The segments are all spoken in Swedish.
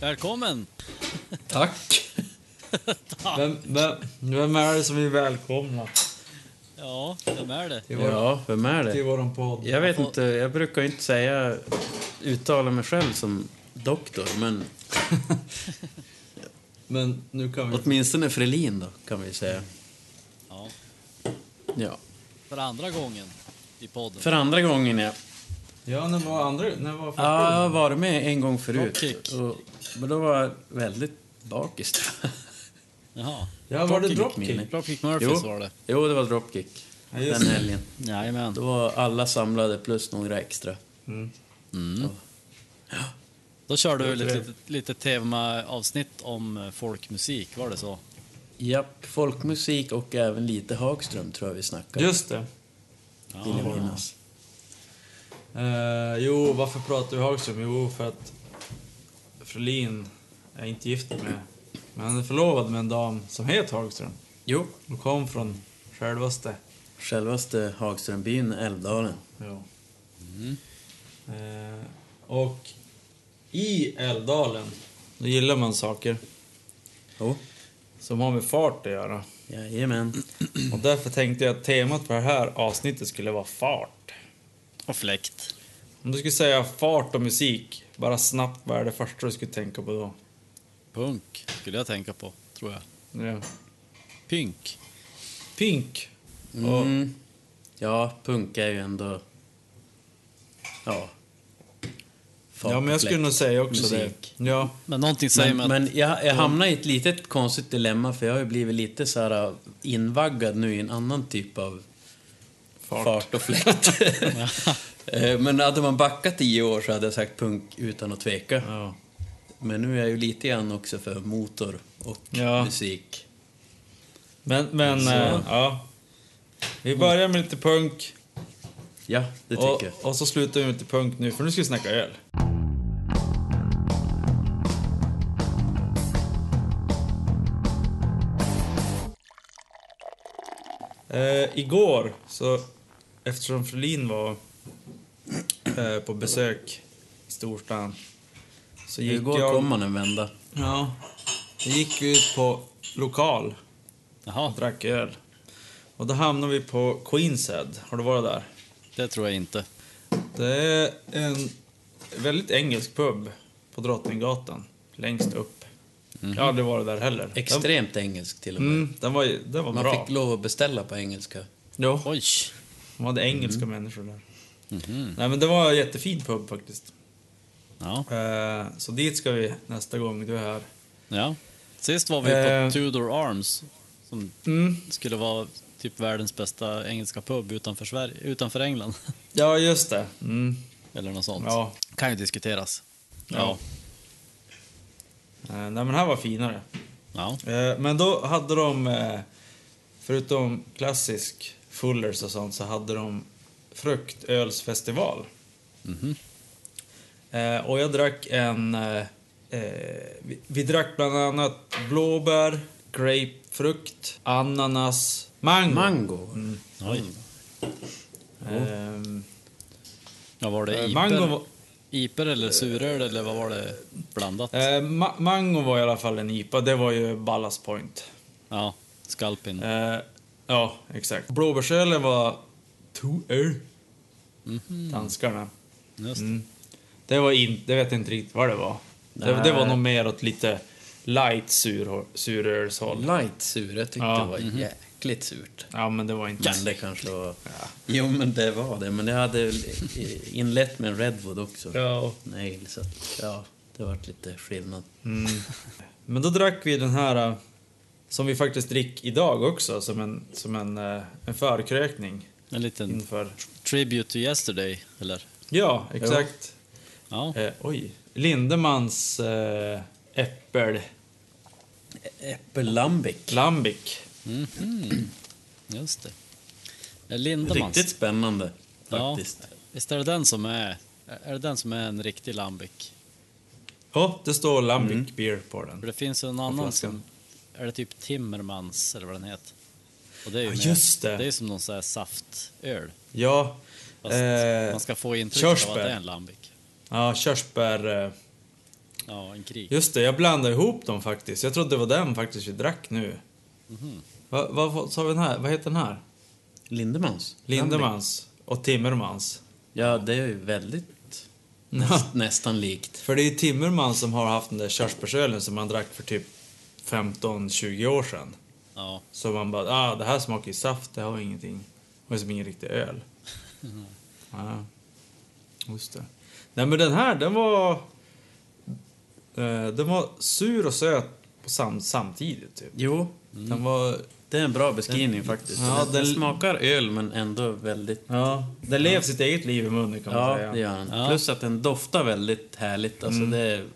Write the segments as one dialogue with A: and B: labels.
A: Välkommen!
B: Tack. Vem, vem, vem är det som vi välkomnar
A: Ja, vem är det?
B: till, vår,
C: Ja, vem är
B: till
C: det?
B: våran podd?
C: Jag vet inte, jag brukar inte säga, uttala mig själv som doktor, men
B: Men nu kan vi...
C: åtminstone Frelin då, kan vi säga.
A: Ja,
C: Ja.
A: för andra gången i podden.
C: För andra gången, ja.
B: Ja, när var andra... När var första?
C: Ja, Jag har varit med en gång förut,
A: Dropkick.
C: och, men då var jag väldigt bakis.
A: Jaha.
B: Ja, var det
C: Dropkick
B: Dropkick?
C: Mini.
A: Dropkick Murphys var
C: Jo,
A: det.
C: jo, det var Dropkick
B: Ja, just
C: den
B: det.
C: helgen.
A: Jajamän.
C: Då var alla samlade plus några extra.
B: Mm.
A: Mm. Då körde du
B: Det
A: lite,
B: tror
A: lite, lite temaavsnitt om eh, folkmusik, var det så?
C: Japp, folkmusik och även lite Hagström tror jag vi snackade.
B: Just det.
C: Vill jag minnas.
B: Eh, jo, varför pratar vi Hagström? Jo, för att Frölin är inte gift med... Men han är förlovad med en dam som heter Hagström.
C: Jo,
B: Och kom från självaste...
C: Självaste Hagströmbyn, Älvdalen.
B: Ja. Mm. Eh, och i Älvdalen, då gillar man saker
C: Jo,
B: som har med fart att göra.
C: jajamän.
B: Och därför tänkte jag att temat för det här avsnittet skulle vara fart.
A: Och fläkt.
B: Om du skulle säga fart och musik, bara snabbt, vad är det första du skulle tänka på då?
A: Punk skulle jag tänka på, tror jag.
B: Ja.
A: Pink.
B: Pink.
C: Mm. Ja, punk är ju ändå... Ja. Fart
B: ja, men jag
C: och
B: skulle
C: fläkt.
B: nog säga också
C: Musik.
B: det. Ja.
A: Men någonting säger mig
C: men,
A: att...
C: men jag, jag hamnar i ett litet konstigt dilemma för jag har ju blivit lite så här äh, invaggad nu i en annan typ av fart, och fläkt. Eh, men hade man backat tio år så hade jag sagt punk utan att tveka.
B: Ja.
C: Men nu är jag ju lite grann också för motor och
B: Ja.
C: musik.
B: Men, men,
C: Så.
B: eh, ja. Vi börjar med lite punk.
C: Ja, det tycker
B: Och,
C: jag.
B: och så slutar vi med lite punk nu, för nu ska vi snacka öl. Eh, igår, så eftersom Frölin var eh, på besök i storstan så gick
C: Igår
B: jag...
C: kom man en vända.
B: Ja, då gick vi ut på lokal
A: Jaha,
B: och drack öl. Och då hamnade vi på Queens Head. Har du varit där?
A: det tror jag inte.
B: Det är en väldigt engelsk pub på Drottninggatan, längst upp. Jag har aldrig varit där heller. Den,
C: Mhm. Extremt engelsk till och med.
B: mm, den var, ju- den var
C: Man
B: bra.
C: fick lov att beställa på engelska.
B: Jo,
A: Oj!
B: de hade engelska
C: Mhm.
B: människor där. Nej, men det var en jättefin pub faktiskt.
A: Ja.
B: Eh, så dit ska vi nästa gång du är här.
A: ja. Sist var vi
B: Eh.
A: på Tudor Arms, som
B: Mm.
A: skulle vara typ världens bästa engelska pub utanför, Sverige, utanför England.
B: Ja, just det. Mm.
A: Eller något sånt.
B: Ja.
A: Kan ju diskuteras.
B: Ja. Eh, nej, men den här var finare.
A: Ja.
B: Eh, Men då hade de, eh, förutom klassisk Fullers och sånt, så hade de fruktölsfestival. Eh, Och jag drack en... eh, eh, vi- Vi drack bland annat blåbär, grapefrukt, ananas, mango.
C: Mango?
A: Oj.
B: Mm. Ehm,
A: Ja, var det
B: eh,
A: iper?
B: mango, var-
A: Iper eller suröl eller vad var det blandat?
B: eh, ma- mango var i alla fall en IPA, det var ju Ballast Point.
A: Ja, skalpin.
B: Eh, ja, exakt. Blåbärsölen var two öl. Danskarna.
A: Mhm. Just.
B: Mm. Det var inte, det vet jag inte riktigt vad det var. Det, det var nog mer åt lite light sur, surölshåll.
C: Light sur. Jag tyckte
B: Ja. Mhm.
C: det var jäkligt surt.
B: Ja, men det var inte...
C: Kan det kanske vara... Jo, men det var det. Men det hade eh, inlett med en Redwood också.
B: Ja.
C: Nej, så att, ja, det vart lite skillnad.
B: Mm. Men då drack vi den här eh, som vi faktiskt drick idag också som en, som en, eh, en förkrökning
A: En liten
B: inför...
A: tribute to yesterday, eller?
B: Ja, exakt.
A: Ja,
B: Eh, oj. Lindemans eh, äppel...
C: Äppellambic.
B: Lambic.
A: just det. Det är Lindemans.
C: Riktigt spännande,
A: Ja.
C: faktiskt.
A: Visst är det den som är... Är det den som är en riktig lambic?
B: Ja, det står Lambic Beer på den.
A: För det finns ju en annan
B: flaskan.
A: som... Är det typ Timmermans eller vad den heter? Och det är ju
B: Ja,
A: mer-
B: just det.
A: Det är som någon sån här saftöl.
B: Ja,
A: Fast
B: Eh,
A: man ska få intrycket av
B: körsbär.
A: att det är en lambic.
B: ja körsbär... eh,
A: Ja, en krig.
B: Just det, jag blandade ihop dem faktiskt. Jag trodde det var den faktiskt vi drack nu. Va- Vad sa vi den här? Vad heter den här?
C: Lindemans?
B: Lindemans och Timmermans.
C: Ja, det är ju väldigt nästan likt.
B: För det är ju Timmermans som har haft den där körsbärsölen som man drack för typ 15-20 år sedan.
A: Ja,
B: Så man bara, ah det här smakar ju saft, det här var ingenting. Det var som ingen riktig öl. Ja, just det. Nej men den här, den var... Eh, den var sur och söt på sam, samtidigt typ.
C: Jo, Mm.
B: Den var...
C: det är en bra beskrivning faktiskt.
B: Ja,
C: den,
B: den-
C: smakar öl men ändå väldigt...
B: Ja, den lever sitt eget liv i munnen kan man
C: Ja,
B: säga.
C: det gör den.
A: Ja.
C: Plus att den doftar väldigt härligt. Alltså det är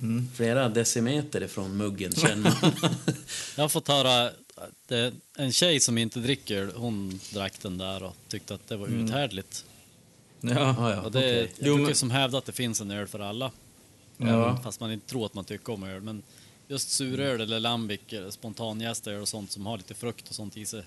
B: Mm.
C: flera decimeter ifrån muggen känner man.
A: jag har fått höra att det, en tjej som inte dricker öl, hon drack den där och tyckte att det var uthärdligt.
B: Ja.
C: ja, ja,
A: Och det, är
C: okej.
A: Jag
B: Jo,
A: brukar
B: men-
A: som hävda att det finns en öl för alla.
B: Ja.
A: Fast man inte tror att man tycker om öl. Men just suröl eller lambic, eller spontanjäst öl och sånt som har lite frukt och sånt i sig.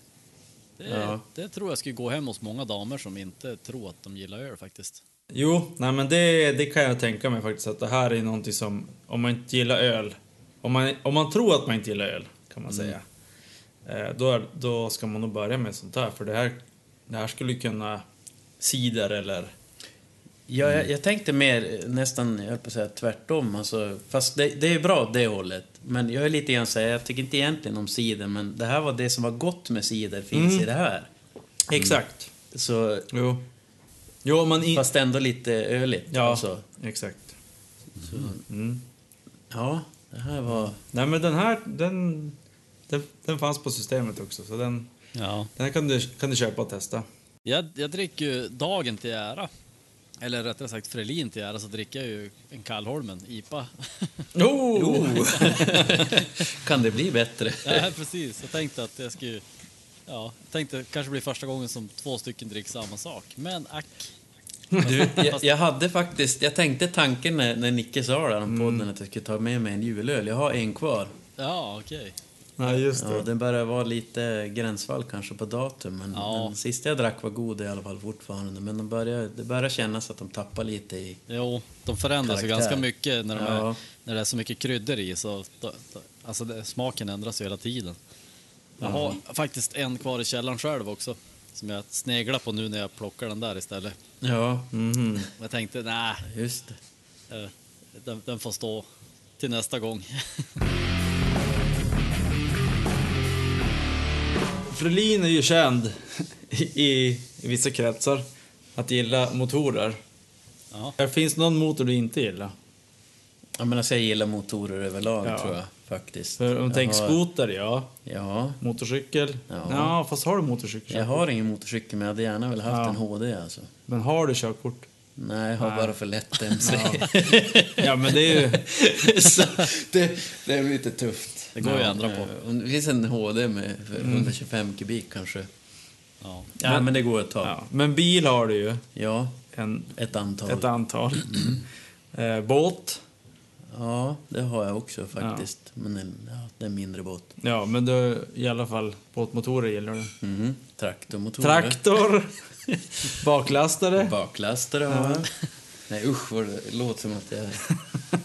A: Det,
C: Ja.
A: det tror jag skulle gå hem hos många damer som inte tror att de gillar öl faktiskt.
B: Jo, nej men det, det kan jag tänka mig faktiskt att det här är någonting som, om man inte gillar öl, om man, om man tror att man inte gillar öl kan man
C: Mm.
B: säga, eh, då, är, då ska man nog börja med sånt här för det här, det här skulle ju kunna cider eller...
C: Ja,
B: Mm.
C: jag, jag tänkte mer eh, nästan, jag höll på att säga tvärtom. Alltså, fast det, det är bra det hållet. Men jag är lite grann så här, jag tycker inte egentligen om cider, men det här var det som var gott med cider finns i det här.
B: Mm.
C: Mm.
B: Exakt.
C: Så,
B: Jo. Jo, om man... I,
C: fast ändå lite öligt.
B: ja,
C: Alltså.
B: exakt.
C: Så,
B: Mm.
C: ja, det här var...
B: Nej men den här, den, den, den fanns på systemet också så den,
A: Ja.
B: den här kan du, kan du köpa och testa.
A: Jag, jag dricker ju dagen till ära. Eller rättare sagt Frelin till ära så dricker jag ju en Kallholmen IPA.
C: Mm.
B: Oh!
C: kan det bli bättre?
A: ja, precis. Jag tänkte att jag skulle... Ja, jag tänkte att det kanske blir första gången som två stycken dricker samma sak. Men ack.
C: Du, jag, jag hade faktiskt, jag tänkte tanken när, när Nicke sa det här
B: Mm.
C: om podden att jag skulle ta med mig en julöl. Jag har en kvar.
A: Ja, okej.
B: Nej just
C: Ja, den börjar vara lite gränsfall kanske på datum. Men,
A: Ja.
C: men sista jag drack var god i alla fall fortfarande. Men de börjar, det börjar kännas att de tappar lite i...
A: Jo, de förändras ju
C: Karaktär.
A: ganska mycket när, de
C: Ja.
A: är, när det är så mycket kryddor i. Så, då, då, alltså det, smaken ändras ju hela tiden. Jag har faktiskt en kvar i källaren själv också. Som jag sneglar på nu när jag plockar den där istället.
C: Ja,
B: Mhm.
A: Jag tänkte, nej,
C: just det.
A: eh, den, den får stå till nästa gång.
B: Frölin är ju känd i, i vissa kretsar att gilla motorer.
A: Ja.
B: Här finns någon motor du inte gillar?
C: Jag menar, så jag gillar motorer överlag
B: Ja.
C: tror jag faktiskt.
B: För om du
C: jag
B: tänker
C: har-
B: skoter, ja.
C: Ja.
B: Motorcykel?
C: Ja.
B: Ja. fast har du motorcykel?
C: Jag har ingen motorcykel men jag hade gärna velat haft
B: Ja.
C: en HD alltså.
B: Men har du körkort?
C: Nej, jag har bara för lätt MC.
B: Ja, men det är ju...
C: så det, det är lite tufft.
A: Det går ju att ändra på.
C: Eh, Om det finns en HD med för 125 kubik kanske.
A: Ja.
C: Ja, men, det går ett tag.
B: Ja. Men bil har du ju.
C: Ja,
B: En,
C: ett antal.
B: ett antal.
C: Mm.
B: Eh, båt?
C: Ja, det har jag också faktiskt. Men en, ja, det är en mindre båt.
B: Ja, men du, i alla fall båtmotorer gillar du.
C: Mm. Traktormotorer.
B: Traktor? Baklastare?
C: Baklastare har jag. Nej usch vad det låter som att jag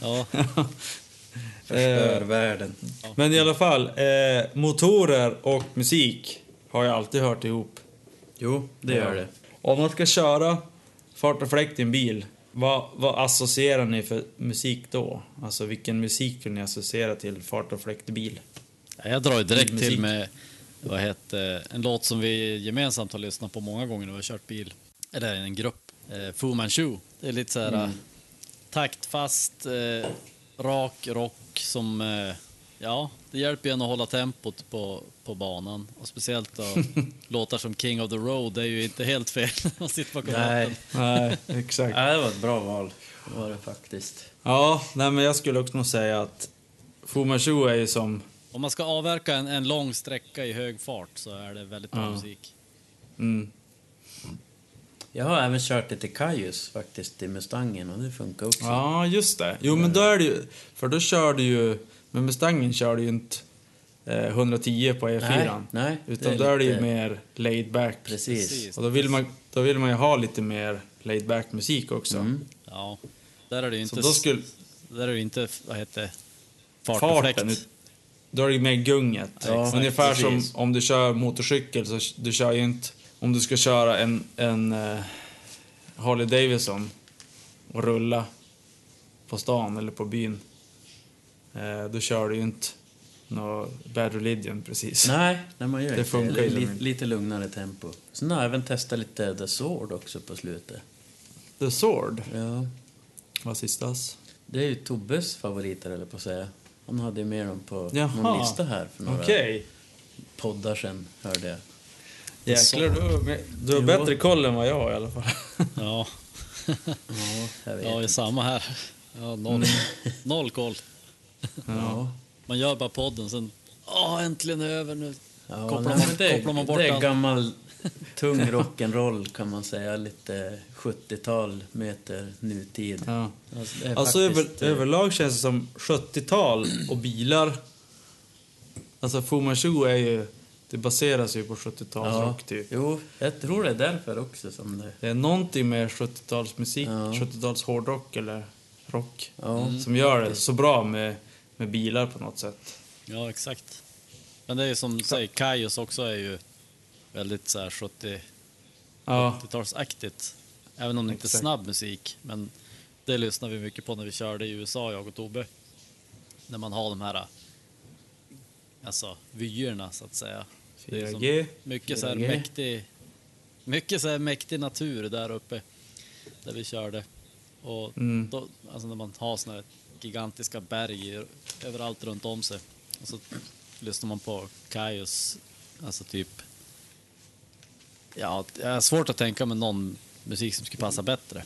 A: Ja.
B: Eh,
C: förstör världen.
B: Men i alla fall, eh, motorer och musik har jag alltid hört ihop.
C: Jo, det gör det.
B: Om man ska köra fart och fläkt i en bil, vad, vad associerar ni för musik då? Alltså vilken musik kunde ni associera till fart och fläkt i bil?
A: Ja, Jag drar ju direkt
B: Musik.
A: till med vad heter, en låt som vi gemensamt har lyssnat på många gånger när vi har kört bil. Eller en grupp. Eh, Fu Manchu. Det är lite så här
B: Mm.
A: eh, taktfast, eh, rak rock som... Eh, ja, det hjälper ju en att hålla tempot på, på banan. Och speciellt då, låtar som King of the Road det är ju inte helt fel när man sitter bakom ratten.
C: Nej,
B: Nej, exakt.
C: ja, det var ett bra val. Det var det faktiskt.
B: Ja, nej men jag skulle också nog säga att Fu Manchu är ju som...
A: Om man ska avverka en, en lång sträcka i hög fart så är det väldigt bra
B: Ja.
A: musik.
B: Mm,
C: Jag har även kört lite Kajus faktiskt i Mustangen och det funkar också.
B: ja, just det. Jo men då är det ju... För då kör du ju... Med Mustangen kör du ju inte... eh, 110 på E4.
C: Nej, nej,
B: Utan
C: det är
B: då är det ju
C: lite-
B: mer laid back.
C: Precis.
A: Precis.
B: Och då vill, man, då vill man ju ha lite mer laid back musik också.
C: Mm.
A: Ja. Där är det ju
B: Så
A: inte,
B: då skulle
A: där är det ju inte vad heter det, fart och
B: farten...
A: fläkt.
B: Då är det ju mer gunget. Liksom.
C: Ja, exakt.
B: Ungefär som
C: Precis.
B: om du kör motorcykel så du kör ju inte... Om du ska köra en, en eh, Harley Davidson och rulla på stan eller på byn. Eh, då kör du ju inte någon Bad Religion precis.
C: Nej, nej, man gör
B: Det
C: inte
B: funkar
C: det.
B: ju
C: Li-
B: som inte.
C: lite lugnare tempo. Sen har jag även testat lite The Sword också på slutet.
B: The Sword
C: Ja,
B: var sistas.
C: det är ju Tobbes favoriter, eller på att säga. Han hade ju med dem på
B: Jaha.
C: någon lista här för några
B: Okej.
C: poddar sen, hörde jag.
B: Jäklar, du, har med- du har
C: Jo.
B: bättre koll än vad jag har i alla fall.
A: Ja.
C: Ja, jag vet.
A: ja, det är
C: inte.
A: samma här. Ja, noll,
B: Mm.
A: noll koll.
C: ja.
A: Man gör bara podden, sen åh, äntligen är det över nu.
C: Ja,
A: kopplar,
C: nej, men
A: man,
C: det,
A: kopplar man bort
C: det är
A: allt.
C: gammal tung rock'n'roll kan man säga. Lite 70-tal möter nutid.
B: Ja.
C: Alltså, det är
B: Alltså
C: faktiskt,
B: över,
C: eh,
B: överlag känns det som 70-tal och bilar. Alltså Fu Manchu är ju, det baseras ju på 70-talsrock typ.
C: Jo, jag tror det är därför också som det...
B: Det är någonting med 70-talsmusik,
C: Ja.
B: 70-tals hårdrock eller rock
C: Ja.
B: som gör det så bra med, med bilar på något sätt.
A: Ja, exakt. Men det är ju som du säger, Kaios också är ju väldigt så här 70
B: Ja,
A: 80-talsaktigt. Även om det inte är
B: Exakt.
A: snabb musik. Men det lyssnar vi mycket på när vi körde i USA, jag och Tobbe. När man har de här alltså, vyerna så att säga. Det är som
B: 4G.
A: mycket så här
C: 4G.
A: mäktig, mycket så här mäktig natur där uppe där vi körde. Och
B: Mm.
A: då, alltså när man har såna här gigantiska berg i- överallt runt om sig. Och så lyssnar man på Kaios, alltså typ Ja, det är svårt att tänka mig någon musik som skulle passa bättre.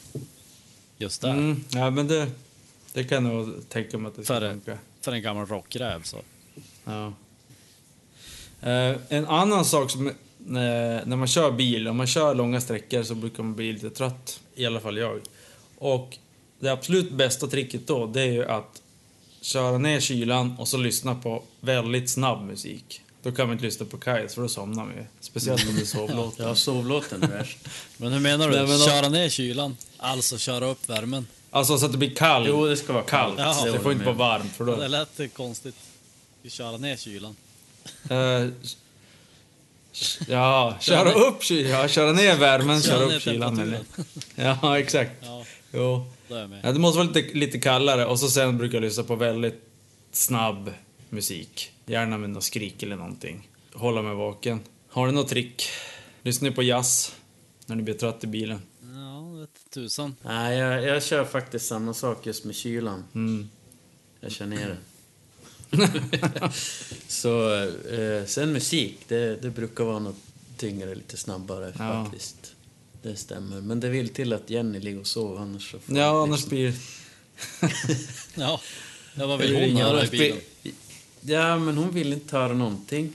A: Just där.
B: Mm, ja men det, det kan jag nog tänka mig att det ska
A: För,
B: funka.
A: för en gammal rockräv så.
B: Ja. Eh, en annan sak som, eh, när man kör bil, om man kör långa sträckor så brukar man bli lite trött. I alla fall jag. Och det absolut bästa tricket då, det är ju att köra ner kylan och så lyssna på väldigt snabb musik. Då kan man inte lyssna på Kajs för då somnar man ju. Speciellt om det är sovlåt.
C: Ja, sovlåten är värst.
A: Men hur menar du?
B: Nej, men då-
A: köra ner kylan? Alltså köra upp värmen?
B: Alltså så att det blir kallt.
C: Jo, det ska vara kallt.
A: Kallt.
B: det,
A: det
B: får inte vara
C: med.
B: varmt för
A: Det
B: då...
A: lät eh, konstigt. Vi Köra ner kylan.
B: Eh, ja, köra upp kylan, köra ner värmen, köra
A: ner
B: upp kylan. Eller?
A: temperaturen.
B: Ja, exakt.
A: Ja,
B: Jo.
A: då är jag med.
B: Ja, det måste vara lite, lite kallare och så sen brukar jag lyssna på väldigt snabb musik. Gärna med något skrik eller någonting. Hålla mig vaken. Har ni något trick? Lyssnar ni på jazz när ni blir trött i bilen?
A: Ja, vet tusan.
C: Nej, jag, jag kör faktiskt samma sak just med kylan.
B: Mm.
C: Jag kör ner det. så, eh, sen musik, det, det brukar vara något tyngre, lite snabbare
B: Ja.
C: faktiskt. Det stämmer. Men det vill till att Jenny ligger och sover annars så får
B: Ja,
C: jag
B: annars blir
A: Ja, ja vad
C: liksom-
A: vill hon
C: Ja,
A: höra i
C: annars
A: bilen?
C: blir- Ja, men hon vill inte höra någonting.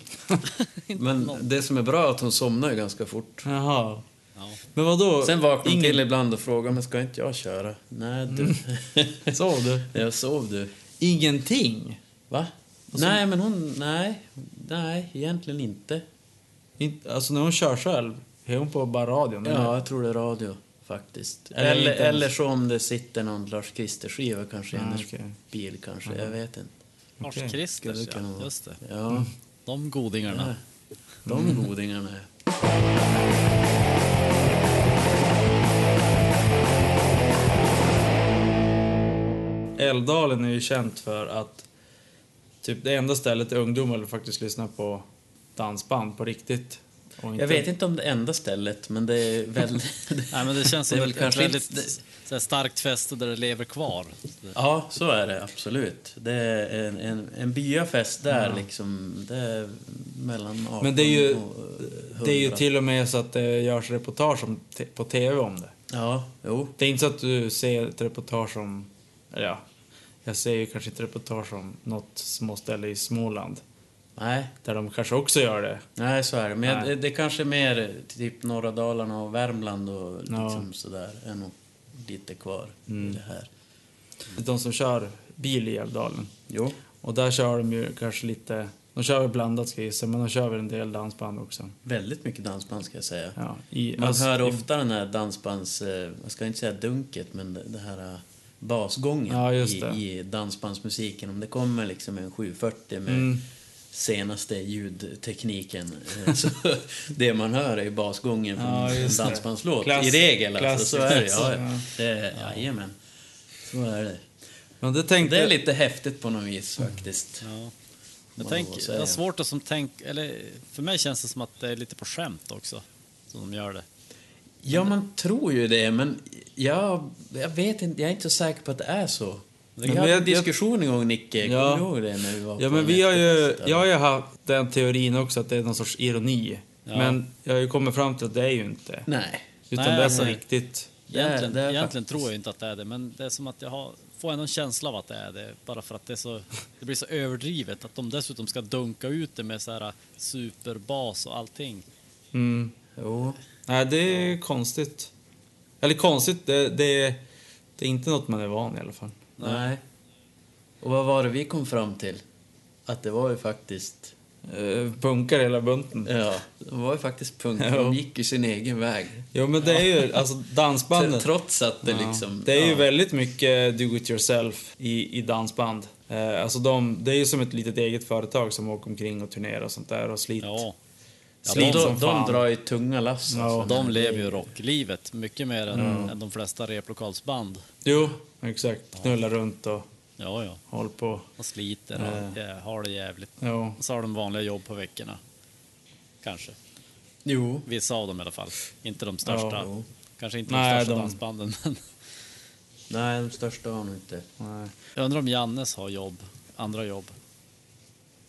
C: men det som är bra är att hon somnar ju ganska fort.
B: Jaha.
A: Ja.
B: Men vadå?
C: Sen vaknar hon till ibland och frågar, men ska inte jag köra? Nej, du.
B: Mm. Sov du?
C: jag sov du.
B: Ingenting?
C: Va? Nej, men hon... Nej, nej, egentligen inte.
B: In, alltså när hon kör själv, är hon på bara radion?
C: Ja, jag tror det är radio faktiskt.
B: Eller
C: Mm. Eller,
B: inte
C: eller så om Ah, det sitter någon Lars Krister-skiva kanske i
B: Ja,
C: hennes
B: okej.
C: bil kanske. Jag vet inte.
A: Lars
B: Okej.
A: Kristers,
C: Skulle kunna
A: ja.
C: vara.
A: Just det.
C: Ja,
A: De godingarna.
C: de godingarna.
B: Älvdalen är ju känt för att typ det enda stället där ungdomar faktiskt lyssnar på dansband på riktigt. Och
C: Jag vet inte om det enda stället, men det är väldigt...
A: Nej, men det känns som
C: Det
A: ett,
C: är väl
A: ett
C: kanske
A: väldigt
C: inte-
A: så här, starkt fäste där det lever kvar.
C: ja, så är det absolut. Det är en, en, en byafest där liksom. Det är mellan 18
B: Men det är ju-
C: och eh,
B: Det är ju
C: 100.
B: till och med så att det görs reportage om te- på tv om det.
C: Ja, jo.
B: Det är inte så att du ser ett reportage om, eller ja, jag ser ju kanske ett reportage om något småställe i Småland
C: Nej,
B: där de kanske också gör det.
C: Nej, så är det. Men jag,
B: Nej.
C: det, det kanske är mer typ norra Dalarna och Värmland och
B: Ja. Mm.
C: liksom sådär. Är nog lite kvar i det här.
B: De som kör bil i Älvdalen.
C: Jo.
B: Och där kör de ju kanske lite, de De kör väl blandat ska jag gissa, men de kör väl en del dansband också.
C: Väldigt mycket dansband ska jag säga.
B: Ja, i,
C: Man
B: alltså,
C: hör
B: i-
C: ofta den här dansbands... eh, Jag ska inte säga dunket, men det- det här eh, basgången
B: Ja, just
C: i,
B: det.
C: i dansbandsmusiken. Om det kommer liksom en 740 med
B: Mm.
C: senaste ljudtekniken. eh, så det man hör är ju basgången från
B: Ja,
C: en
B: just det.
C: dansbandslåt.
B: Klassik-
C: I regel alltså, så
B: klassiskt,
C: är det. Ja,
B: alltså.
C: det jajamän. Så är det.
B: Men det tänkte... Mm.
C: Det är lite häftigt på något vis faktiskt.
A: Ja. Jag,
C: Vad
A: tänk,
C: då,
A: jag
C: säger
A: har
B: alltså,
C: jag.
A: svårt att som tänk, eller för mig känns det som att det är lite på skämt också som de gör det.
C: Ja, man tror ju det, men jag, jag vet inte, jag är inte så säker på att det är så. Vi
B: Men
C: hade
B: jag-
C: en diskussion en gång, Nicke.
B: Ja.
C: Kommer du ihåg det? När vi var
B: Ja,
C: på
B: men
C: en
B: vi har ju,
C: efterfest, eller?
B: jag har ju haft den teorin också att det är någon sorts ironi.
A: Ja.
B: Men jag har ju kommit fram till att det är ju inte.
C: Nej. alltså,
B: Utan
A: Nej,
B: det är på
A: nej.
B: riktigt.
C: Det är-
A: Egentligen,
C: det är
A: egentligen
C: faktiskt-
A: tror jag inte att det är det, men det är som att jag har, får ändå en känsla av att det är det, bara för att det, är så, det blir så överdrivet. Att de dessutom ska dunka ut det med så här superbas och allting.
B: Mm.
C: Jo.
B: Nej, det är konstigt. Eller konstigt, det, det, det är inte något man är van i alla fall.
C: Nej. Och vad var det vi kom fram till? Att det var ju faktiskt...
B: Eh, Punkar hela bunten.
C: Ja, det var ju faktiskt punkt.
B: Ja.
C: De gick ju sin egen väg.
B: Jo men det är ju, alltså dansbanden.
C: Trots att det
B: Ja.
C: liksom...
B: Det är ju
C: ja.
B: väldigt mycket do it yourself i, i dansband. Eh, alltså de, det är ju som ett litet eget företag som åker omkring och turnerar och sånt där och slit.
A: Ja,
C: Ja,
B: slit
C: de,
B: som
C: de,
B: fan.
C: de drar ju tunga lass.
B: Ja.
C: Alltså.
A: de lever ju rocklivet mycket mer än, än de flesta replokalsband.
B: Jo, exakt. Knullar runt och
A: Ja, ja,
B: håller på.
A: och sliter och ja, har det jävligt.
B: Ja.
A: Och så har de vanliga jobb på veckorna. Kanske.
C: Jo.
A: Vissa av dem i alla fall. Inte de största.
B: Ja,
C: jo.
A: Kanske inte de
B: Nej,
A: största
B: de-
A: dansbanden. Men
C: Nej, de största har nog inte...
B: Nej.
A: jag undrar om Jannes har jobb, andra jobb.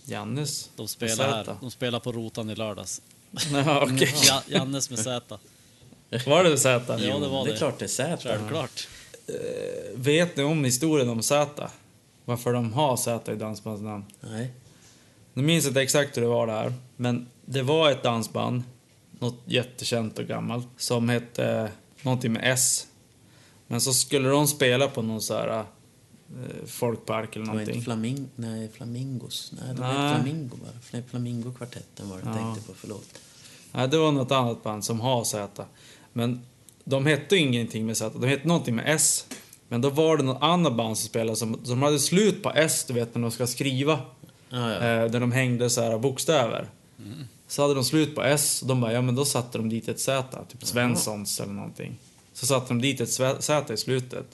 B: Jannes.
A: De spelar här. De spelar på Rotan i lördags.
B: Ja, okej.
A: Ja, Jannes med Z.
B: Var det Zäta?
A: Ja, det var
C: det
A: det.
C: är klart det är Zäta.
A: Självklart.
B: Vet ni om historien om Zäta? Varför de har Zäta i dansbandsnamn?
C: Nej.
B: Nu minns jag inte exakt hur det var där, men det var ett dansband, något jättekänt och gammalt, som hette eh, någonting med S. Men så skulle de spela på någon så här eh, folkpark eller
C: Det var inte
B: någonting.
C: flaming nej, Flamingos. Nej, det var
B: Nej.
C: Flamingo bara. Nej, Flamingokvartetten var det jag
B: Ja.
C: tänkte på, förlåt.
B: Nej, det var något annat band som har Z. Men de hette ingenting med Z, de hette någonting med S. Men då var det något annat band som spelade som, som hade slut på S, du vet när de ska skriva.
C: Ja, Mm. ja.
B: Eh, där de hängde så här bokstäver. Så hade de slut på S och de bara, ja men då satte de dit ett Z, typ Svenssons eller någonting. Så satte de dit ett sve- Z i slutet.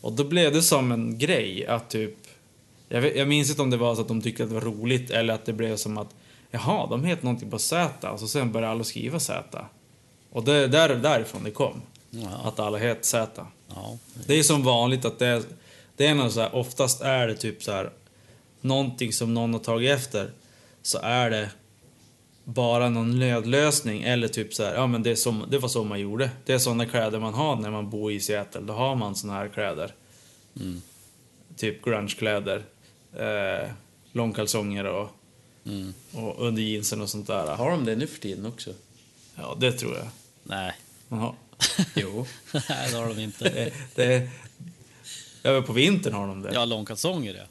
B: Och då blev det som en grej att typ, jag, vet, jag minns inte om det var så att de tyckte att det var roligt eller att det blev som att, jaha, de heter någonting på Z och så sen började alla skriva Z. Och det är där, därifrån det kom.
A: Ja.
B: Att alla heter Z.
A: Ja.
B: Det är som vanligt att det är, det är någon så här, oftast är det typ så här någonting som någon har tagit efter så är det bara någon nödlösning eller typ så här, ja men det, är som, det var så man gjorde. Det är sådana kläder man har när man bor i Seattle, då har man sådana här kläder.
A: Mm.
B: Typ grungekläder, eh, långkalsonger och,
A: Mm.
B: och under jeansen och sånt där.
C: Har de det nu för tiden också?
B: Ja, det tror jag.
A: Nej.
B: Man har.
C: Jo.
A: Nej, det har de inte.
B: Det, det, ja, men på vintern har de det.
A: Ja, långkalsonger ja.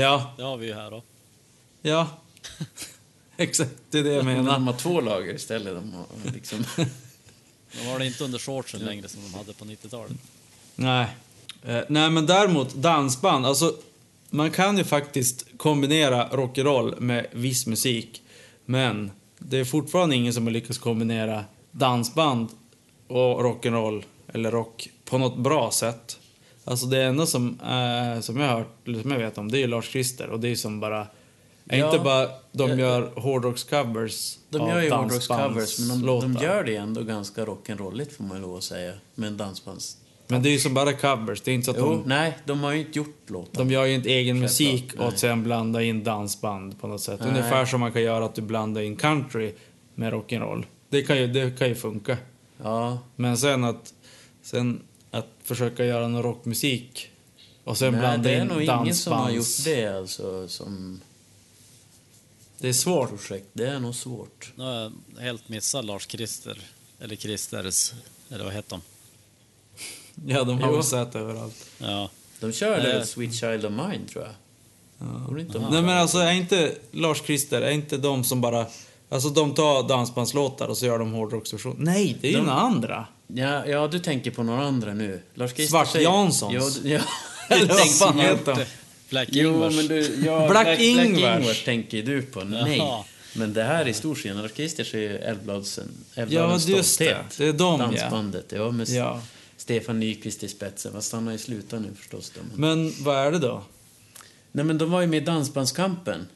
B: ja
A: Det har vi ju här då.
B: Ja. Exakt, det är det jag
C: Men
B: menar.
C: de har två lager istället. De har liksom...
A: De har det inte under shortsen längre som de hade på 90-talet.
B: Nej. Eh, nej, men däremot dansband. Alltså, man kan ju faktiskt kombinera rock'n'roll med viss musik. Men det är fortfarande ingen som har lyckats kombinera dansband och rock'n'roll eller rock på något bra sätt. Alltså det enda som, eh, som jag har hört, eller som jag vet om, det är ju Lars-Christer och det är som bara... Är
C: Ja.
B: inte bara de
C: Jag-
B: gör hårdrocks-covers
C: De
B: av
C: gör ju hårdrockscovers, men de, de
B: dansbandslåtar.
C: gör det ändå ganska rock'n'rolligt får man ju lov att säga. Med en dansbands...
B: Men det är ju som bara covers, det är inte så att
C: Jo,
B: de,
C: nej, de har ju inte gjort låtar.
B: de gör ju inte egen musik
C: nej.
B: och sen blandar in dansband på något sätt.
C: Nej.
B: Ungefär som man kan göra att du blandar in country med rock'n'roll. Det kan ju, det kan ju funka.
C: Ja,
B: Men sen att, sen att försöka göra någon rockmusik och sen
C: nej,
B: blanda
C: det är
B: in
C: nog ingen som har gjort
B: dansbands... Det.
C: det alltså som
B: det är svårt.
C: projekt. Det är nog svårt.
A: Nu har jag helt missat Lars-Christer. Eller Christers. Eller vad heter de?
B: Ja, de har
C: Jo.
B: väl sett överallt.
A: Ja.
C: De körde
A: Nej.
C: Sweet Child of Mine tror jag. Borde inte de-
B: Nej men alltså, är inte Lars-Christer, är inte de som bara... Alltså de tar dansbandslåtar och så gör de hårdrocksversion. Nej, det är ju några andra.
C: Ja, ja, du tänker på några andra nu. Lars Christer
B: Svart
C: säger-
B: Janssons.
C: Ja, du- ja. Jag tänkte
B: fan
C: på
B: heter
C: något.
B: de?
A: Black
C: Jo,
A: Ingvars.
C: men du, ja,
B: Black
C: Black
B: Ingvars.
C: Ingvars tänker ju du på. Nej.
A: Jaha.
C: Men det här är stor skillnad. Lars Christer säger ju Älvbladsen. Älvbladens
B: Ja, just det.
C: stolthet.
B: Det är de, ja.
C: Dansbandet, ja. med s-
B: Ja.
C: Stefan Nyqvist i spetsen. Fast han har ju slutat nu förstås. Då. Men...
B: Men vad är det då?
C: Nej, men de var ju med i Dansbandskampen.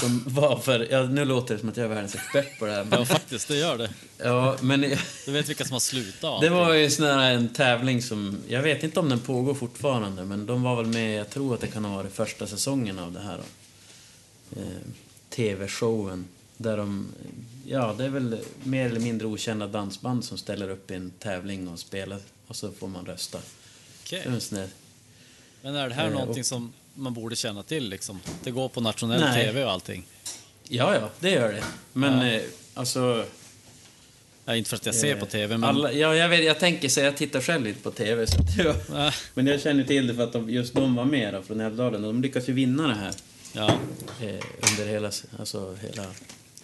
C: Som var för, ja, nu låter det som att jag är världens expert på det här.
A: Ja,
C: Men,
A: faktiskt, det gör det.
C: ja, men
A: Du vet vilka som har slutat?
C: Det var ju sån här en tävling som, jag vet inte om den pågår fortfarande, men de var väl med, jag tror att det kan ha varit första säsongen av det här då. Eh, TV-showen. Där de, ja det är väl mer eller mindre okända dansband som ställer upp i en tävling och spelar och så får man rösta.
A: Okej.
C: Det är en sån där-
A: Men är det här
C: Eh, och-
A: någonting som man borde känna till liksom? Det går på nationell
C: Nej.
A: tv och allting.
C: Ja, ja, det gör det. Men eh, alltså...
A: Ja, inte för att jag ser
C: eh,
A: på tv, men...
C: alla, ja, jag, vet, jag tänker så, jag tittar själv lite på TV. Så att jag,
A: Ja.
C: Men jag känner till det för att de, just de var med då, från Älvdalen och de lyckas ju vinna det här.
A: Ja.
C: eh, under hela, alltså, hela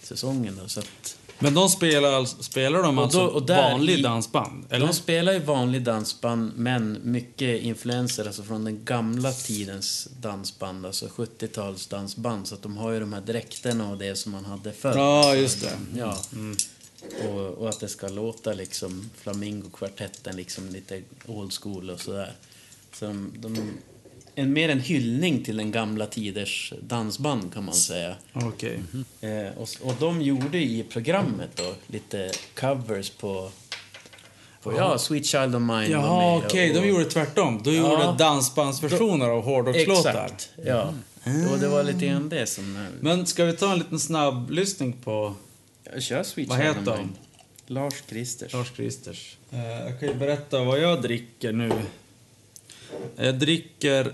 C: säsongen. Då, så att,
B: Men de spelar, spelar de
C: då-
B: alltså
C: och där
B: vanlig
C: i-
B: dansband? Eller?
C: De spelar ju vanlig dansband, men mycket influenser alltså från den gamla tidens dansband, alltså 70-tals dansband. Så att de har ju de här dräkterna och det som man hade förr.
B: Ja, Mm. just det.
C: Ja. Och, och att det ska låta liksom flamingokvartetten liksom lite old school och sådär. Så de, de, en, mer en hyllning till den gamla tiders dansband kan man säga.
B: Okej.
C: Eh, och, och de gjorde i programmet då lite covers på, på ja, Sweet Child of Mine var
B: Jaha,
C: med,
B: okej.
C: och-
B: De gjorde tvärtom. De
C: Ja.
B: gjorde dansbandsversioner av hårdrockslåtar.
C: Exakt, ja. Och det var lite grann det som...
B: Men ska vi ta en liten snabb lyssning på
C: Jag kör Sweet
B: Vad
C: Child
B: heter
C: of
B: de?
C: Mine. Lars Kristers.
B: Lars Christers? Eh, jag kan ju berätta vad jag dricker nu. Jag dricker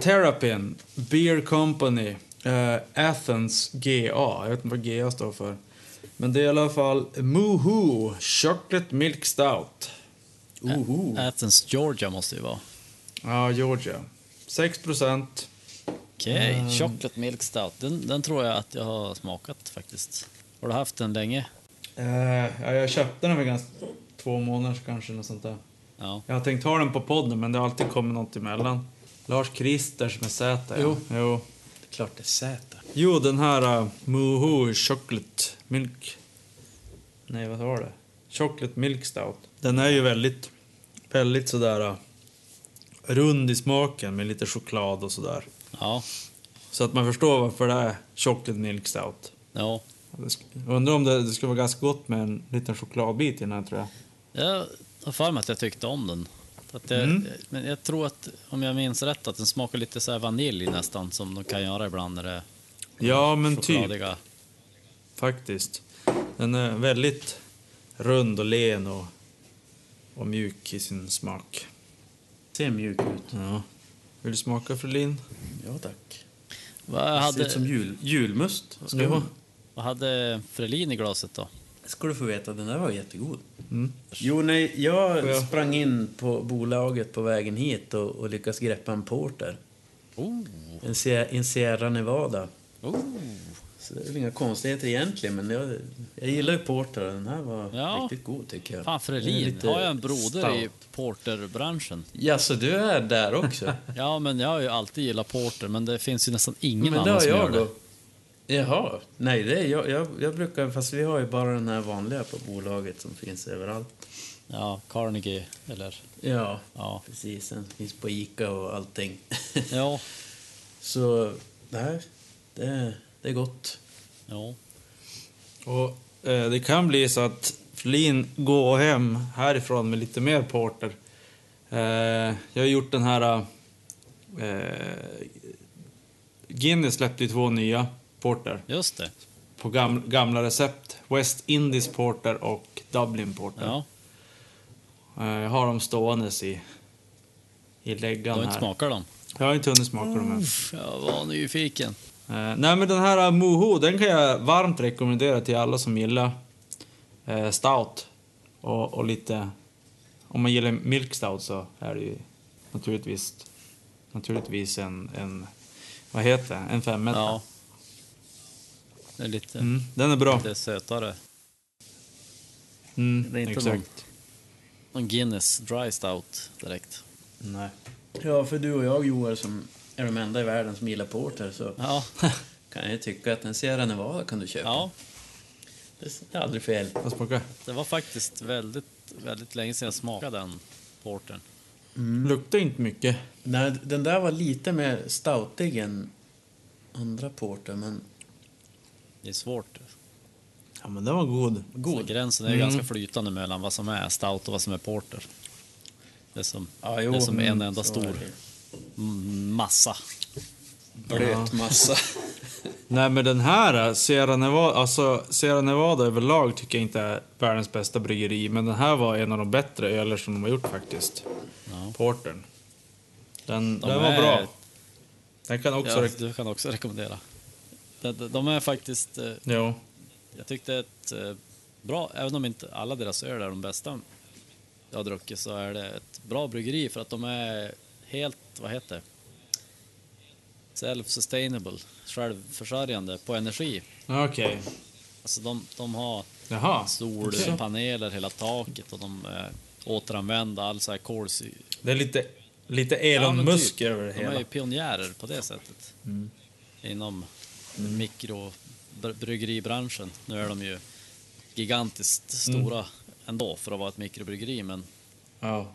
B: Terrapin Beer Company eh, Athens GA. Jag vet inte vad GA står för. Men det är i alla fall Moohoo Chocolate Milk Stout.
C: Oho.
A: Athens, Georgia måste det ju vara.
B: Ja, Georgia. 6 procent.
A: Okej,
C: Eh.
A: chocolate milk stout. Den, den tror jag att jag har smakat faktiskt. Har du haft den länge?
B: Eh, ja, jag köpte den för ganska två månader kanske, något sånt där.
A: Ja.
B: Jag har tänkt ha den på podden, men det har alltid kommit något emellan. Lars Kristers med Z, ja.
C: Jo.
B: jo.
C: Klart det är Zäta.
B: Jo, den här uh, Moohoo Chocolate Milk... Nej, vad var det? Chocolate Milk Stout. Den är ju väldigt, väldigt sådär uh, rund i smaken med lite choklad och sådär.
A: Ja.
B: Så att man förstår varför det är Chocolate Milk Stout.
A: ja.
B: Det sk- Jag undrar om det, det skulle vara ganska gott med en liten chokladbit i den här tror jag.
A: Jag har för mig att jag tyckte om den. Att jag,
B: Mm.
A: Men jag tror att, om jag minns rätt, att den smakar lite så här vanilj nästan som de kan göra ibland när det är
B: Ja, men typ.
A: chokladiga.
B: Faktiskt. Den är väldigt rund och len och, och mjuk i sin smak.
C: Ser mjuk ut.
B: Ja. Vill du smaka Frölin?
C: Ja, tack.
A: Vad
C: Ser ut som
A: hade,
C: jul, julmust. Ska,
B: Jo.
C: du,
A: vad hade Frelin i glaset då?
C: ska du få veta, den där var jättegod.
B: Mm.
C: Jo, nej, jag
B: Får jag-
C: sprang in på bolaget på vägen hit och, och lyckas greppa en porter.
A: Oh.
C: En, Se- en Sierra Nevada.
A: Oh.
C: Så det är väl inga konstigheter egentligen, men jag, jag gillar ju porter. Den här var
A: Ja.
C: riktigt god tycker jag.
A: Fan,
C: Den är
A: Frelin.
C: lite
A: Har jag en broder i
C: stout.
A: porterbranschen?
C: Ja, så du är där också?
A: Ja, men jag har ju alltid gillat porter, men det finns ju nästan ingen
C: men det
A: annan
C: har
A: som gör
C: jag då.
A: det.
C: Jaha. Nej, det är jag, jag, jag brukar... Fast vi har ju bara den här vanliga på bolaget som finns överallt.
A: Ja, Carnegie eller...
C: Ja,
A: Ja.
C: precis. Den finns på Ica och allting.
A: Ja.
C: Så det här, det, det är gott.
A: ja.
B: Och eh, det kan bli så att Frölin går hem härifrån med lite mer porter. Eh, jag har gjort den här... Eh, Guinness släppte ju två nya porter
A: Just det.
B: på gam, gamla recept. West Indies Porter och Dublin Porter.
A: Ja.
B: Eh, Jag har dem ståendes i, i
A: Du
B: läggan
A: har
B: här.
A: inte smakat dem?
B: Jag har inte hunnit smaka dem än.
A: Jag var nyfiken.
B: Eh, nej men den här Moho, den kan jag varmt rekommendera till alla som gillar eh, stout. Och, och lite... Om man gillar milk stout så är det ju naturligtvis, naturligtvis en, en, Vad heter det? En femetta?
A: Ja. Det är lite,
B: Mm, den är bra.
A: lite sötare.
B: Mm,
A: det är inte
B: exakt.
A: Någon Guinness Dry Stout direkt.
B: Nej.
C: Ja, för du och jag Joel som är de enda i världen som gillar porter så
A: Ja,
C: kan jag tycka att en Sierra Nevada kan du köpa.
A: ja
C: Det är aldrig fel.
B: Vad smakar
A: det var faktiskt väldigt, väldigt länge sedan jag smakade den portern.
B: Luktar inte mycket.
C: Nej, den där var lite mer stoutig än andra porter, men
A: Det är svårt.
B: Ja, men den var god.
A: Så gränsen är ju
B: Mm.
A: ganska flytande mellan vad som är stout och vad som är porter. Det är som,
C: Ja,
A: det är som en enda
C: så är
A: stor
C: det.
A: mm, massa.
C: blöt massa.
B: Nej, men den här, eh, Sierra Nevada, alltså Sierra Nevada överlag tycker jag inte är världens bästa bryggeri, men den här var en av de bättre öler som de har gjort faktiskt.
A: Ja.
B: Portern. Den,
A: De
B: den var
A: är-
B: bra. Den kan också...
A: Ja,
B: Ja.
A: du kan också rekommendera. De, de- de är faktiskt, eh,
B: Jo.
A: jag tyckte ett eh, bra, även om inte alla deras öl är de bästa jag har druckit så är det ett bra bryggeri för att de är helt, vad heter det? Self-sustainable, självförsörjande på energi.
B: Okej.
A: Alltså de, de har
B: Jaha. Okej.
A: solpaneler hela taket och de eh, återanvänder all så här kolsy...
B: Det är lite, lite
A: Ja,
B: Elon
A: men
B: Musk
A: typ.
B: över det
A: De är
B: hela.
A: ju pionjärer på det sättet.
C: Mm.
A: Inom mikrobryggeribranschen. Nu är de ju gigantiskt
C: Mm.
A: stora ändå för att vara ett mikrobryggeri men,
B: Ja.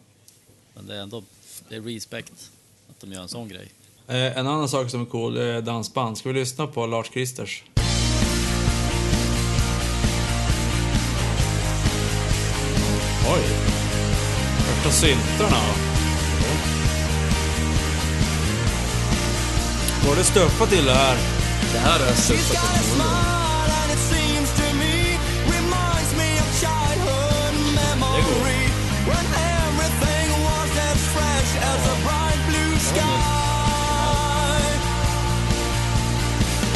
A: men det är ändå det är respekt att de gör en sån grej.
B: Eh, en annan sak som är cool är dansband. Ska vi lyssna på Lars Kristers? Oj! Första syntarna. Går det stöpa till det här?
C: Det här har jag
D: She's
C: suttit
D: got a
C: på målen.
D: smile, and it seems to me reminds me of childhood memory when everything was as fresh as a bright blue sky.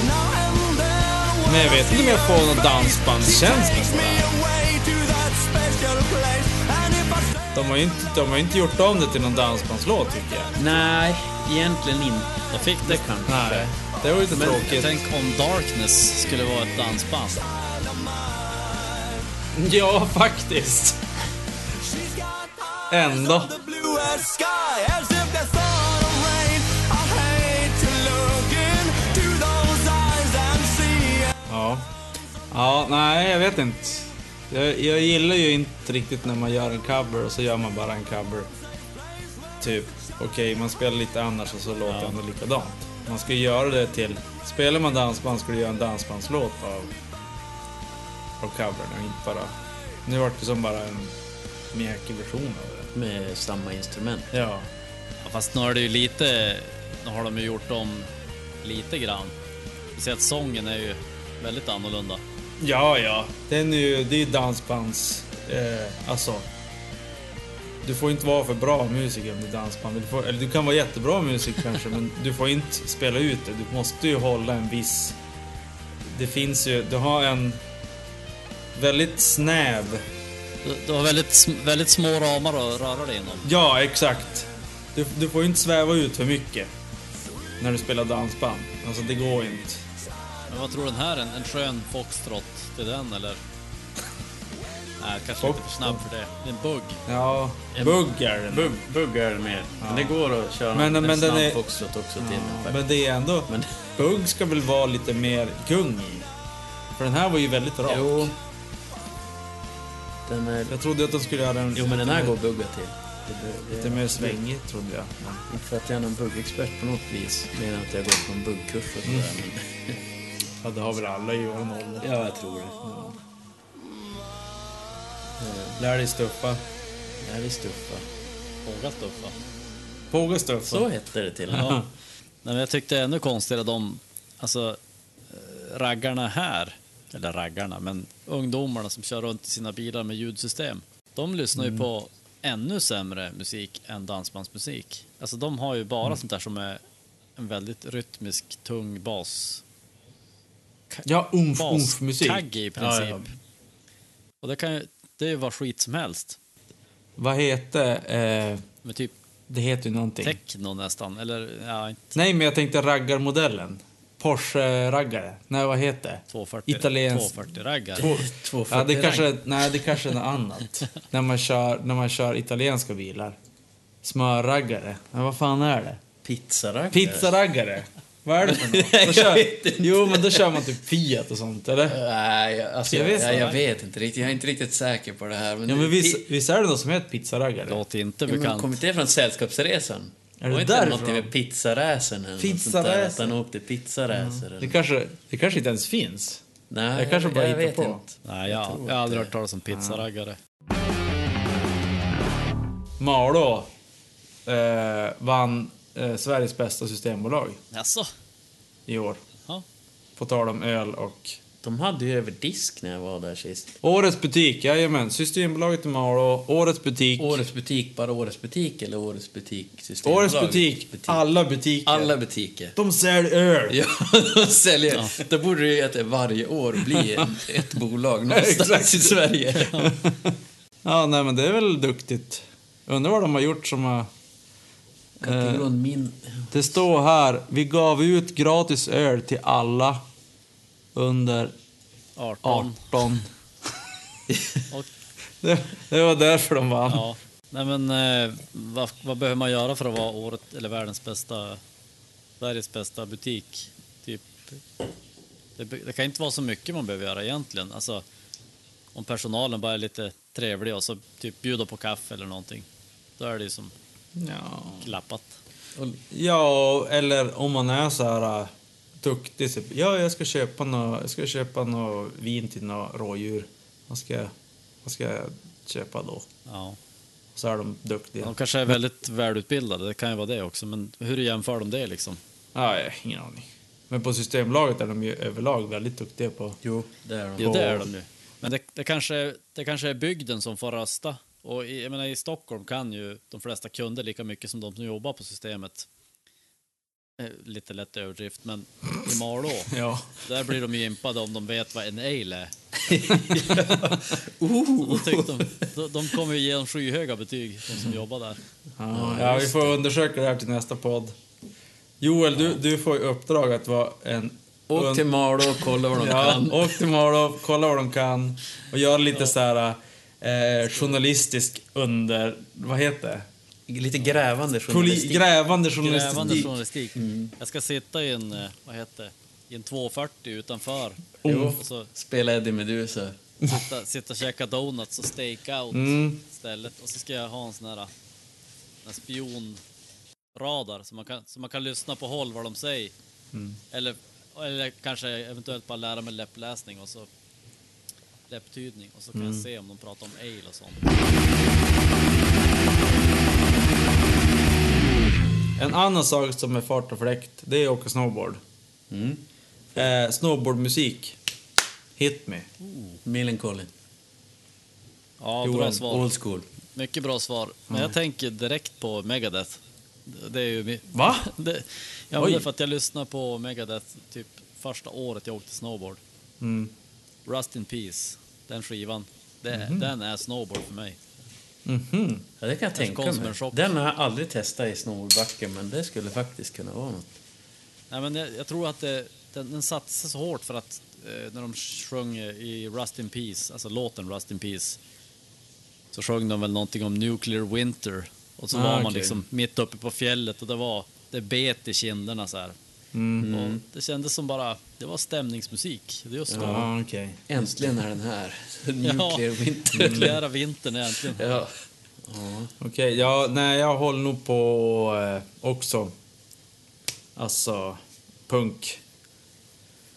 D: Now and then, when
B: Men jag vet
D: I
B: inte om jag
D: see
B: får
D: her
B: någon
D: face,
B: dansbandskänsla
D: she takes
B: på det
D: me
B: här.
D: away to that special place, and if I stay
B: De har ju inte, de har ju inte gjort om det till någon dansbandslåt tycker jag.
C: Nej, egentligen inte. Jag fick det kanske.
B: Nej. Det var ju lite tråkigt.
A: Tänk om Darkness skulle vara ett dansband.
B: Ja, faktiskt.
D: She's got eyes
B: Ändå.
D: of the bluest sky as if they're thought of rain. I hate to look into those eyes and see.
B: Ja. Ja, nej, jag vet inte. Jag, jag gillar ju inte riktigt när man gör en cover och så gör man bara en cover. Typ, okej, man spelar lite annars och så låter det ändå likadant. Man ska ju göra det till... Spelar man dansband ska du göra en dansbandslåt av, av covern och inte bara... Nu vart det som bara en mjäkig version av det.
C: Med samma instrument.
B: Ja.
A: Ja, fast nu är det ju lite, nu har de ju gjort om lite grann. Vi ser att sången är ju väldigt annorlunda.
B: Ja, ja. Den är ju, det är ju dansbands... Eh, alltså. Du får inte vara för bra musiker om du är dansband. Du, får, eller du kan vara jättebra musiker kanske, men du får inte spela ut det. Du måste ju hålla en viss... Det finns ju... Du har en väldigt snäv...
A: Du, du har väldigt, sm- väldigt små ramar att röra dig inom.
B: Ja, exakt. Du, du får ju inte sväva ut för mycket när du spelar dansband. Alltså, det går inte.
A: Men vad tror du den här? En, en skön foxtrot till den eller? Nej, kanske lite för snabb för det. Det är en bugg.
B: Ja, bugg är det.
C: Bug, buggar med. Men det går att köra
B: Men-
C: en
B: men den
C: snabb
B: är-
C: foxtrot också till. den.
B: Men det är ändå...
C: Men-
B: Bugg ska väl vara lite mer gung i? För den här var ju väldigt rak.
C: Jo. Den är...
B: Jag trodde att de skulle göra den
C: Jo, men den här
B: lite,
C: går att bugga till. Det, det,
B: lite mer svängig, trodde jag. Men,
C: Inte för att jag är någon buggexpert på något vis. Menar att jag går på en buggkurs och sådär. Men...
B: ja, det har väl alla i vår ålder.
C: Ja, jag tror det. Ja.
B: Eh, Lär dig stuffa.
C: Jag vill stuffa.
A: Våga stuffa.
B: Påga stuffa.
C: Så hette det till och med.
A: Ja. Nej, men jag tyckte ännu konstigare de, alltså eh, raggarna här, eller raggarna, men ungdomarna som kör runt i sina bilar med ljudsystem. De lyssnar ju på ännu sämre musik än dansbandsmusik. Alltså de har ju bara sånt där som är en väldigt rytmisk, tung bas.
B: Ja, umf, umf musik.
A: baskagge i princip.
B: Ja, ja.
A: Och det kan ju, det är ju vad skit som helst.
B: Vad hette... Eh,
A: Med typ
B: Det heter ju någonting.
A: Techno nästan, eller ja, inte
B: Nej, men jag tänkte raggarmodellen. Porsche-raggare. Nej, vad heter det?
A: 240.
B: Italiensk.
A: 240-raggar.
B: Två- Ja, det kanske, nej, det kanske är något annat. när, man kör, när man kör italienska bilar. Smörraggare. Men vad fan är det?
C: Pizzaraggare.
B: Pizzaraggare. Vad är det för något? Då kör, jo, men då kör man typ Fiat och sånt, eller?
C: Nej, jag- alltså,
B: Jag
C: jag,
B: vet
C: jag,
B: inte.
C: jag, vet inte riktigt. Jag är inte riktigt säker på det här. Men
B: Ja, men
C: det-
B: visst,
C: pi-
B: visst är det något som heter pizzaraggare?
A: Låter inte
C: ja, men
A: bekant.
C: kom inte det från Sällskapsresan?
B: Är det
C: Var inte
B: därifrån?
C: någonting med pizzaräsen eller något sånt där?
B: Pizzaräsen.
C: Att han åkte pizzaräser?
B: Det
C: eller-
B: kanske, det kanske inte ens finns.
C: Nej,
B: jag kanske bara hittar
C: vet
B: på.
C: Inte.
A: Nej, jag, jag,
C: tror
A: har aldrig
C: inte.
A: hört talas om pizzaraggare.
B: Malå eh, vann eh, Sveriges bästa systembolag
A: Jaså?
B: i år.
A: Ja.
B: På tal om öl och
C: De hade ju över disk när jag var där sist.
B: Årets butik, jajamän. Systembolaget i Malå, Årets butik.
C: Årets butik, bara Årets butik eller Årets butik
B: Årets
C: Systembolaget?
B: butik, alla butiker.
C: Alla butiker.
B: De säljer öl!
C: Ja, de säljer. Då borde det ju att det varje år blir en- ett bolag någonstans i Sverige.
B: Ja, nej men det är väl duktigt. Undrar vad de har gjort som har... eh,
C: Kategorin min...
B: Det står här, vi gav ut gratis öl till alla under
A: 18.
B: 18.
A: Och,
B: Det, det var därför de vann.
A: ja. Nej, men eh, vad, vad behöver man göra för att vara året eller världens bästa, Sveriges bästa butik? Typ. Det, be- det kan inte vara så mycket man behöver göra egentligen. Alltså, om personalen bara är lite trevlig och så typ bjuder på kaffe eller någonting. Då är det ju som
B: Ja.
A: klappat.
B: Ja, eller om man är så här äh, duktig. Så, ja, jag ska köpa nå jag ska köpa nå vin till några rådjur. Vad ska, jag- vad ska jag köpa då?
A: Ja.
B: Så är de duktiga.
A: De kanske är väldigt välutbildade, det kan ju vara det också, men hur jämför de det liksom?
B: Nej, ingen aning. Men på Systembolaget är de ju överlag väldigt duktiga på...
C: Jo, det är de.
A: Jo, det är
B: Och-
A: de ju. Men det, det, kanske, det kanske är bygden som får rösta. Och i, jag menar, i Stockholm kan ju de flesta kunder lika mycket som de som jobbar på systemet. Eh, Lite lätt överdrift, men i Malå,
B: Ja.
A: där blir de ju impade om de vet vad en ale är. Så då tyckte de, de, de kommer ju ge dem skyhöga betyg, de som jobbar där.
B: Ja, ja, vi får undersöka det här till nästa podd. Joel, du, du får i uppdrag att vara en...
C: Åk
B: un-
C: till Malå och kolla vad de
B: Ja,
C: kan.
B: åk till Malå, kolla vad de kan och gör lite så här eh, journalistisk under... Vad heter det?
C: Lite grävande
B: Poli,
C: journalistik. Mm.
B: grävande journalistik.
A: Grävande journalistik. Jag ska sitta i en, eh, vad heter det, i en 240 utanför.
C: Jo.
A: Och så
C: Oh. Spela Eddie Meduza.
A: sitta, sitta och käka donuts och stakeout
B: Mm.
A: istället. Och så ska jag ha en sån här, eh, en spionradar så man, kan, så man kan lyssna på håll vad de säger.
C: Mm.
A: Eller, eller kanske eventuellt bara lära mig läppläsning och så läpptydning och så kan
C: Mm.
A: jag se om de pratar om ale och sånt.
B: En annan sak som är fart och fläkt, det är att åka snowboard. Eh, snowboardmusik. Hit me.
C: Millencolin.
A: Ja,
B: Joel,
A: bra svar.
C: Old school.
A: Mycket bra svar. Men
B: Mm.
A: jag tänker direkt på Megadeth. Det- Det är ju mi-
B: Va?
A: Det, ja, men
B: Oj.
A: det är för att jag lyssnade på Megadeth typ första året jag åkte snowboard.
B: Mm.
A: Rust in Peace, den skivan. Det, Den är snowboard för mig.
B: Mhm.
C: Ja, det kan jag
A: Kanske kom
C: tänka
A: som en
C: mig.
A: chock.
C: Den har jag aldrig testat i snowboardbacke, men det skulle faktiskt kunna vara något.
A: Nej, men jag, jag tror att det, den, den satsade så hårt för att eh, när de sjöng i Rust in Peace, alltså låten Rust in Peace, så sjöng de väl någonting om Nuclear Winter. Och så
B: Ah,
A: var man
B: okej.
A: liksom mitt uppe på fjället och det var, det bet i kinderna så här.
B: Mm.
A: Och det kändes som bara, det var stämningsmusik. Det är just Mm. ja. Mm.
B: Ja, okej.
C: Äntligen är den här.
A: Ja,
C: Nuclear winter.
A: nukleära vintern egentligen.
C: Ja.
B: Okej, ja, nej, jag håller nog på eh, också. Alltså, punk.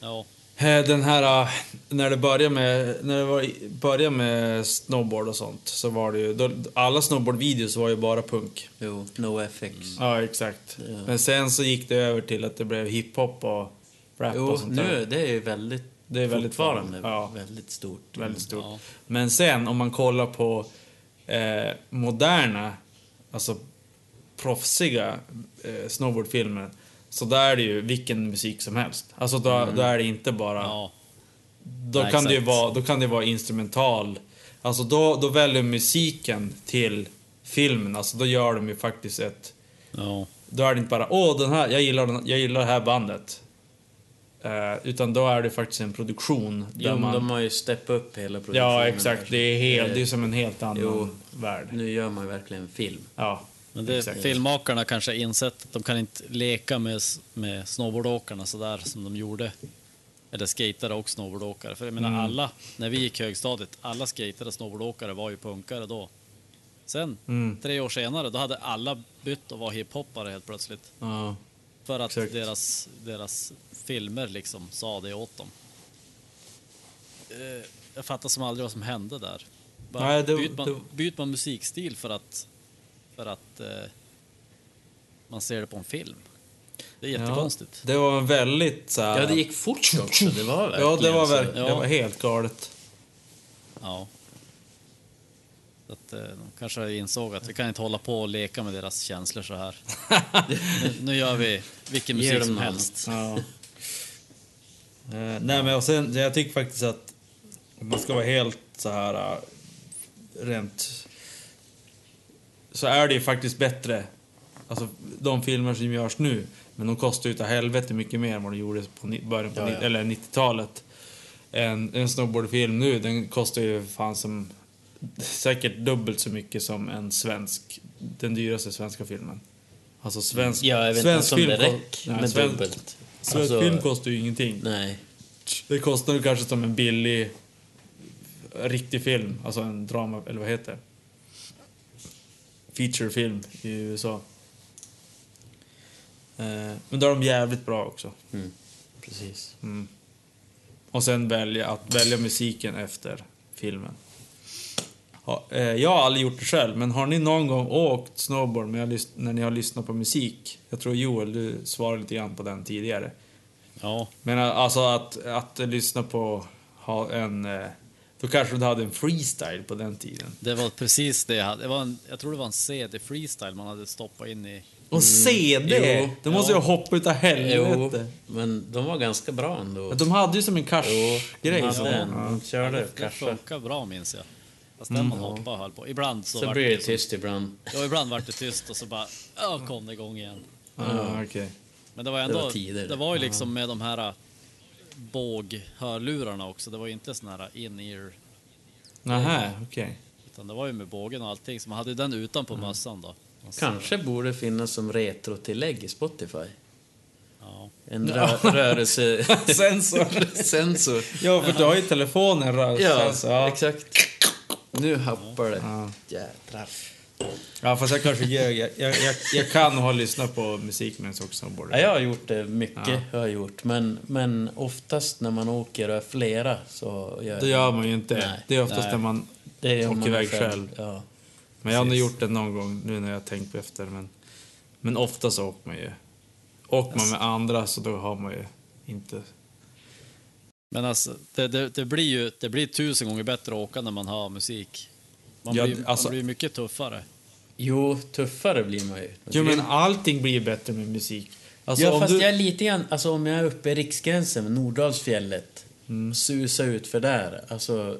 A: Ja,
B: Eh, Den här, eh, när det började med, när det var, i- började med snowboard och sånt så var det ju, då, alla snowboardvideos var ju bara punk.
C: Jo, no FX.
B: Ja, exakt. Men sen så gick det över till att det blev hiphop och rap
C: Jo,
B: och sånt där.
C: nu det är ju väldigt,
B: Det är väldigt
C: fortfarande
B: ja.
C: väldigt stort.
B: Väldigt stort.
A: Ja.
B: Men sen om man kollar på eh, moderna, alltså proffsiga eh, snowboardfilmer så där är det ju vilken musik som helst. Alltså då, då är det inte bara...
A: ja.
B: Då,
A: Nej,
B: kan det ju
A: exakt.
B: vara, då kan det vara instrumental. Alltså då, då väljer musiken till filmen, alltså då gör de ju faktiskt ett...
A: Ja.
B: Då är det inte bara åh, den här, jag, gillar den, jag gillar det här bandet. Eh, utan då är det faktiskt en produktion. Där
C: Jo, men
B: man,
C: de har ju steppat upp hela produktionen.
B: ja, exakt.
C: här.
B: Det är, helt, det är
C: Eh,
B: som en helt annan
C: Jo.
B: värld.
C: Eh, Nu gör man ju verkligen film.
B: Ja,
A: Men det,
B: exakt.
A: filmmakarna kanske har insett att de kan inte leka med, s- med snowboardåkarna sådär som de gjorde. Eller skatare och snowboardåkare. För jag menar alla, när vi gick högstadiet, alla skatare och snowboardåkare var ju punkare då. Sen,
B: Mm.
A: tre år senare, då hade alla bytt och var hiphoppare helt plötsligt.
B: Ja.
A: För att
B: Exakt.
A: deras, deras filmer liksom sa det åt dem. Eh, Jag fattar som aldrig vad som hände där. Bara
B: Nej, det-
A: byt, man,
B: det-
A: byt man musikstil för att, för att eh, man ser det på en film. Det är jättekonstigt.
B: Det var en väldigt så här,
C: Ja, det gick fort också. Det var verkligen
B: Ja, det var,
C: så-
B: verk,
A: ja.
B: det var helt galet.
A: Ja. Så att, eh, de kanske insåg att vi kan inte hålla på och leka med deras känslor så här. nu, nu gör vi vilken
C: Ge
A: musik
C: dem
A: som
C: något
A: helst.
B: Ja. Eh, nej men och sen, jag tycker faktiskt att om man ska vara helt så här eh, rent så är det ju faktiskt bättre. Alltså de filmer som görs nu, men de kostar ju utav helvete mycket mer än vad de gjorde på ni- början på
C: Ja,
B: ni-
C: ja.
B: eller 90-talet. En, en snowboardfilm nu, den kostar ju fan som säkert dubbelt så mycket som en svensk, den dyraste svenska filmen. Alltså svensk,
C: Mm. Ja, jag vet
B: svensk
C: inte ens om
B: film
C: det
B: ko-
C: räcker
B: Nej,
C: med
B: svensk-
C: dubbelt.
B: Svensk
C: Alltså-
B: film kostar ju ingenting.
C: Nej.
B: Det kostar ju kanske som en billig riktig film, alltså en drama, eller vad heter det? Featurefilm i USA. Eh, men då är de jävligt bra också.
C: Precis.
B: Mm. Och sen välja, att välja musiken efter filmen. Ja, eh, jag har aldrig gjort det själv, men har ni någon gång åkt snowboard med, lys- när ni har lyssnat på musik? Jag tror Joel, du svarade lite grann på den tidigare.
A: Ja,
B: Men alltså att, att lyssna på ha en... eh, Då kanske du hade en freestyle på den tiden.
A: det var precis det jag hade. Det var en, jag tror det var en CD freestyle man hade stoppat in i
C: Mm.
B: Och CD!
C: Jo.
B: det måste
A: Ja.
B: ju hoppa utav
C: Jo,
B: helvete.
C: men de var ganska bra ändå.
B: Men De hade ju som en
C: Jo,
B: cash-grej.
C: de hade
B: så.
C: en. De körde
A: Det
C: kanske.
A: funkar bra minns jag. Fast den man hoppade och höll på. Ibland så,
C: Mm. Så
A: vart
C: blir det
A: det,
C: tyst ibland.
A: ja, ibland vart det tyst och så bara ja, kom det igång igen.
B: Ah, okej.
A: Men det var ändå, det
C: var
A: var,
C: tider.
A: ju liksom med de här ä, båghörlurarna också. Det var ju inte såna här in-ear,
B: Nähä, okej.
A: utan det var ju med bågen och allting. Så man hade ju den utan på mössan då. Och så-
C: Mm. Kanske borde finnas som retrotillägg i Spotify.
A: Ja.
C: En rö rörelse...
B: Sensor.
C: sensor.
B: Ja, för du har ju telefonen rör.
C: Ja,
B: alltså, ja.
C: exakt. Nu happar det. Jädrar.
B: ja, fast jag kanske jag, jag, jag, jag, jag kan ha lyssnat på musik medan jag åker snowboard.
C: Ja, jag har gjort det mycket. Jag har gjort. Men, men oftast när man åker och är flera så gör
B: Det gör man ju inte.
C: Nej.
B: Det är oftast
C: Nej.
B: när man
C: det gör
B: åker
C: man
B: iväg själv.
C: Ja.
B: Men jag har nog
C: Precis.
B: gjort det någon gång nu när jag har tänkt på efter. Men, men ofta så åker man ju. Åker man med andra så då har man ju inte...
A: Men alltså, det, det, det blir ju det blir tusen gånger bättre att åka när man har musik. Man
B: Ja,
A: blir
B: alltså-
A: man blir mycket tuffare.
C: Jo, tuffare blir man ju.
B: Jo men allting blir ju bättre med musik. Alltså,
C: ja,
B: om
C: fast
B: du...
C: jag är lite grann, alltså om jag är uppe i Riksgränsen, Nordalsfjället, och susar ut för där, alltså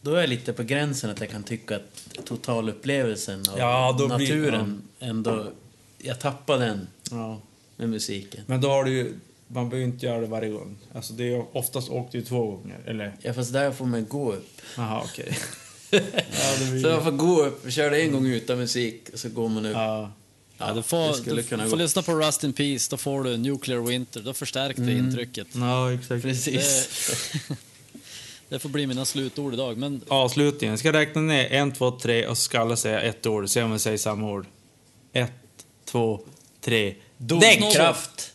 C: då är jag lite på gränsen att jag kan tycka att totalupplevelsen av
B: Ja, då blir-
C: naturen ändå, jag tappar den
B: Ja.
C: med musiken.
B: Men då har du ju... Man behöver ju inte göra det varje gång. Alltså det är ju- oftast åker du ju två gånger. Eller?
C: Ja, fast där får man gå upp.
B: Jaha okej.
C: Så jag får gå upp, köra en gång utan musik, och så går man upp.
B: Ja.
A: Ja, du får,
C: det skulle
A: du
C: kunna
A: får
C: gå.
A: lyssna på Rust in Peace, då får du Nuclear Winter, då förstärkte
C: Mm.
A: intrycket.
B: Ja exakt.
C: Precis.
A: Det får bli mina slutord idag, men
B: Avslutningen. Jag ska räkna ner en, två, tre och så ska alla säga ett ord. Se om vi säger samma ord. Ett, två, tre.
C: Däckkraft!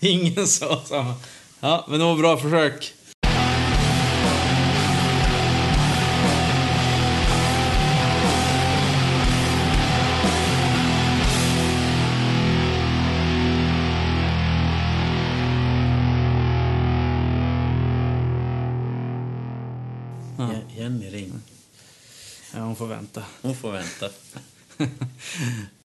B: Ingen sa samma. Ja, men det var bra försök.
C: Je- Jenny Eh, ring.
B: Ja, hon får vänta.
C: Hon får vänta.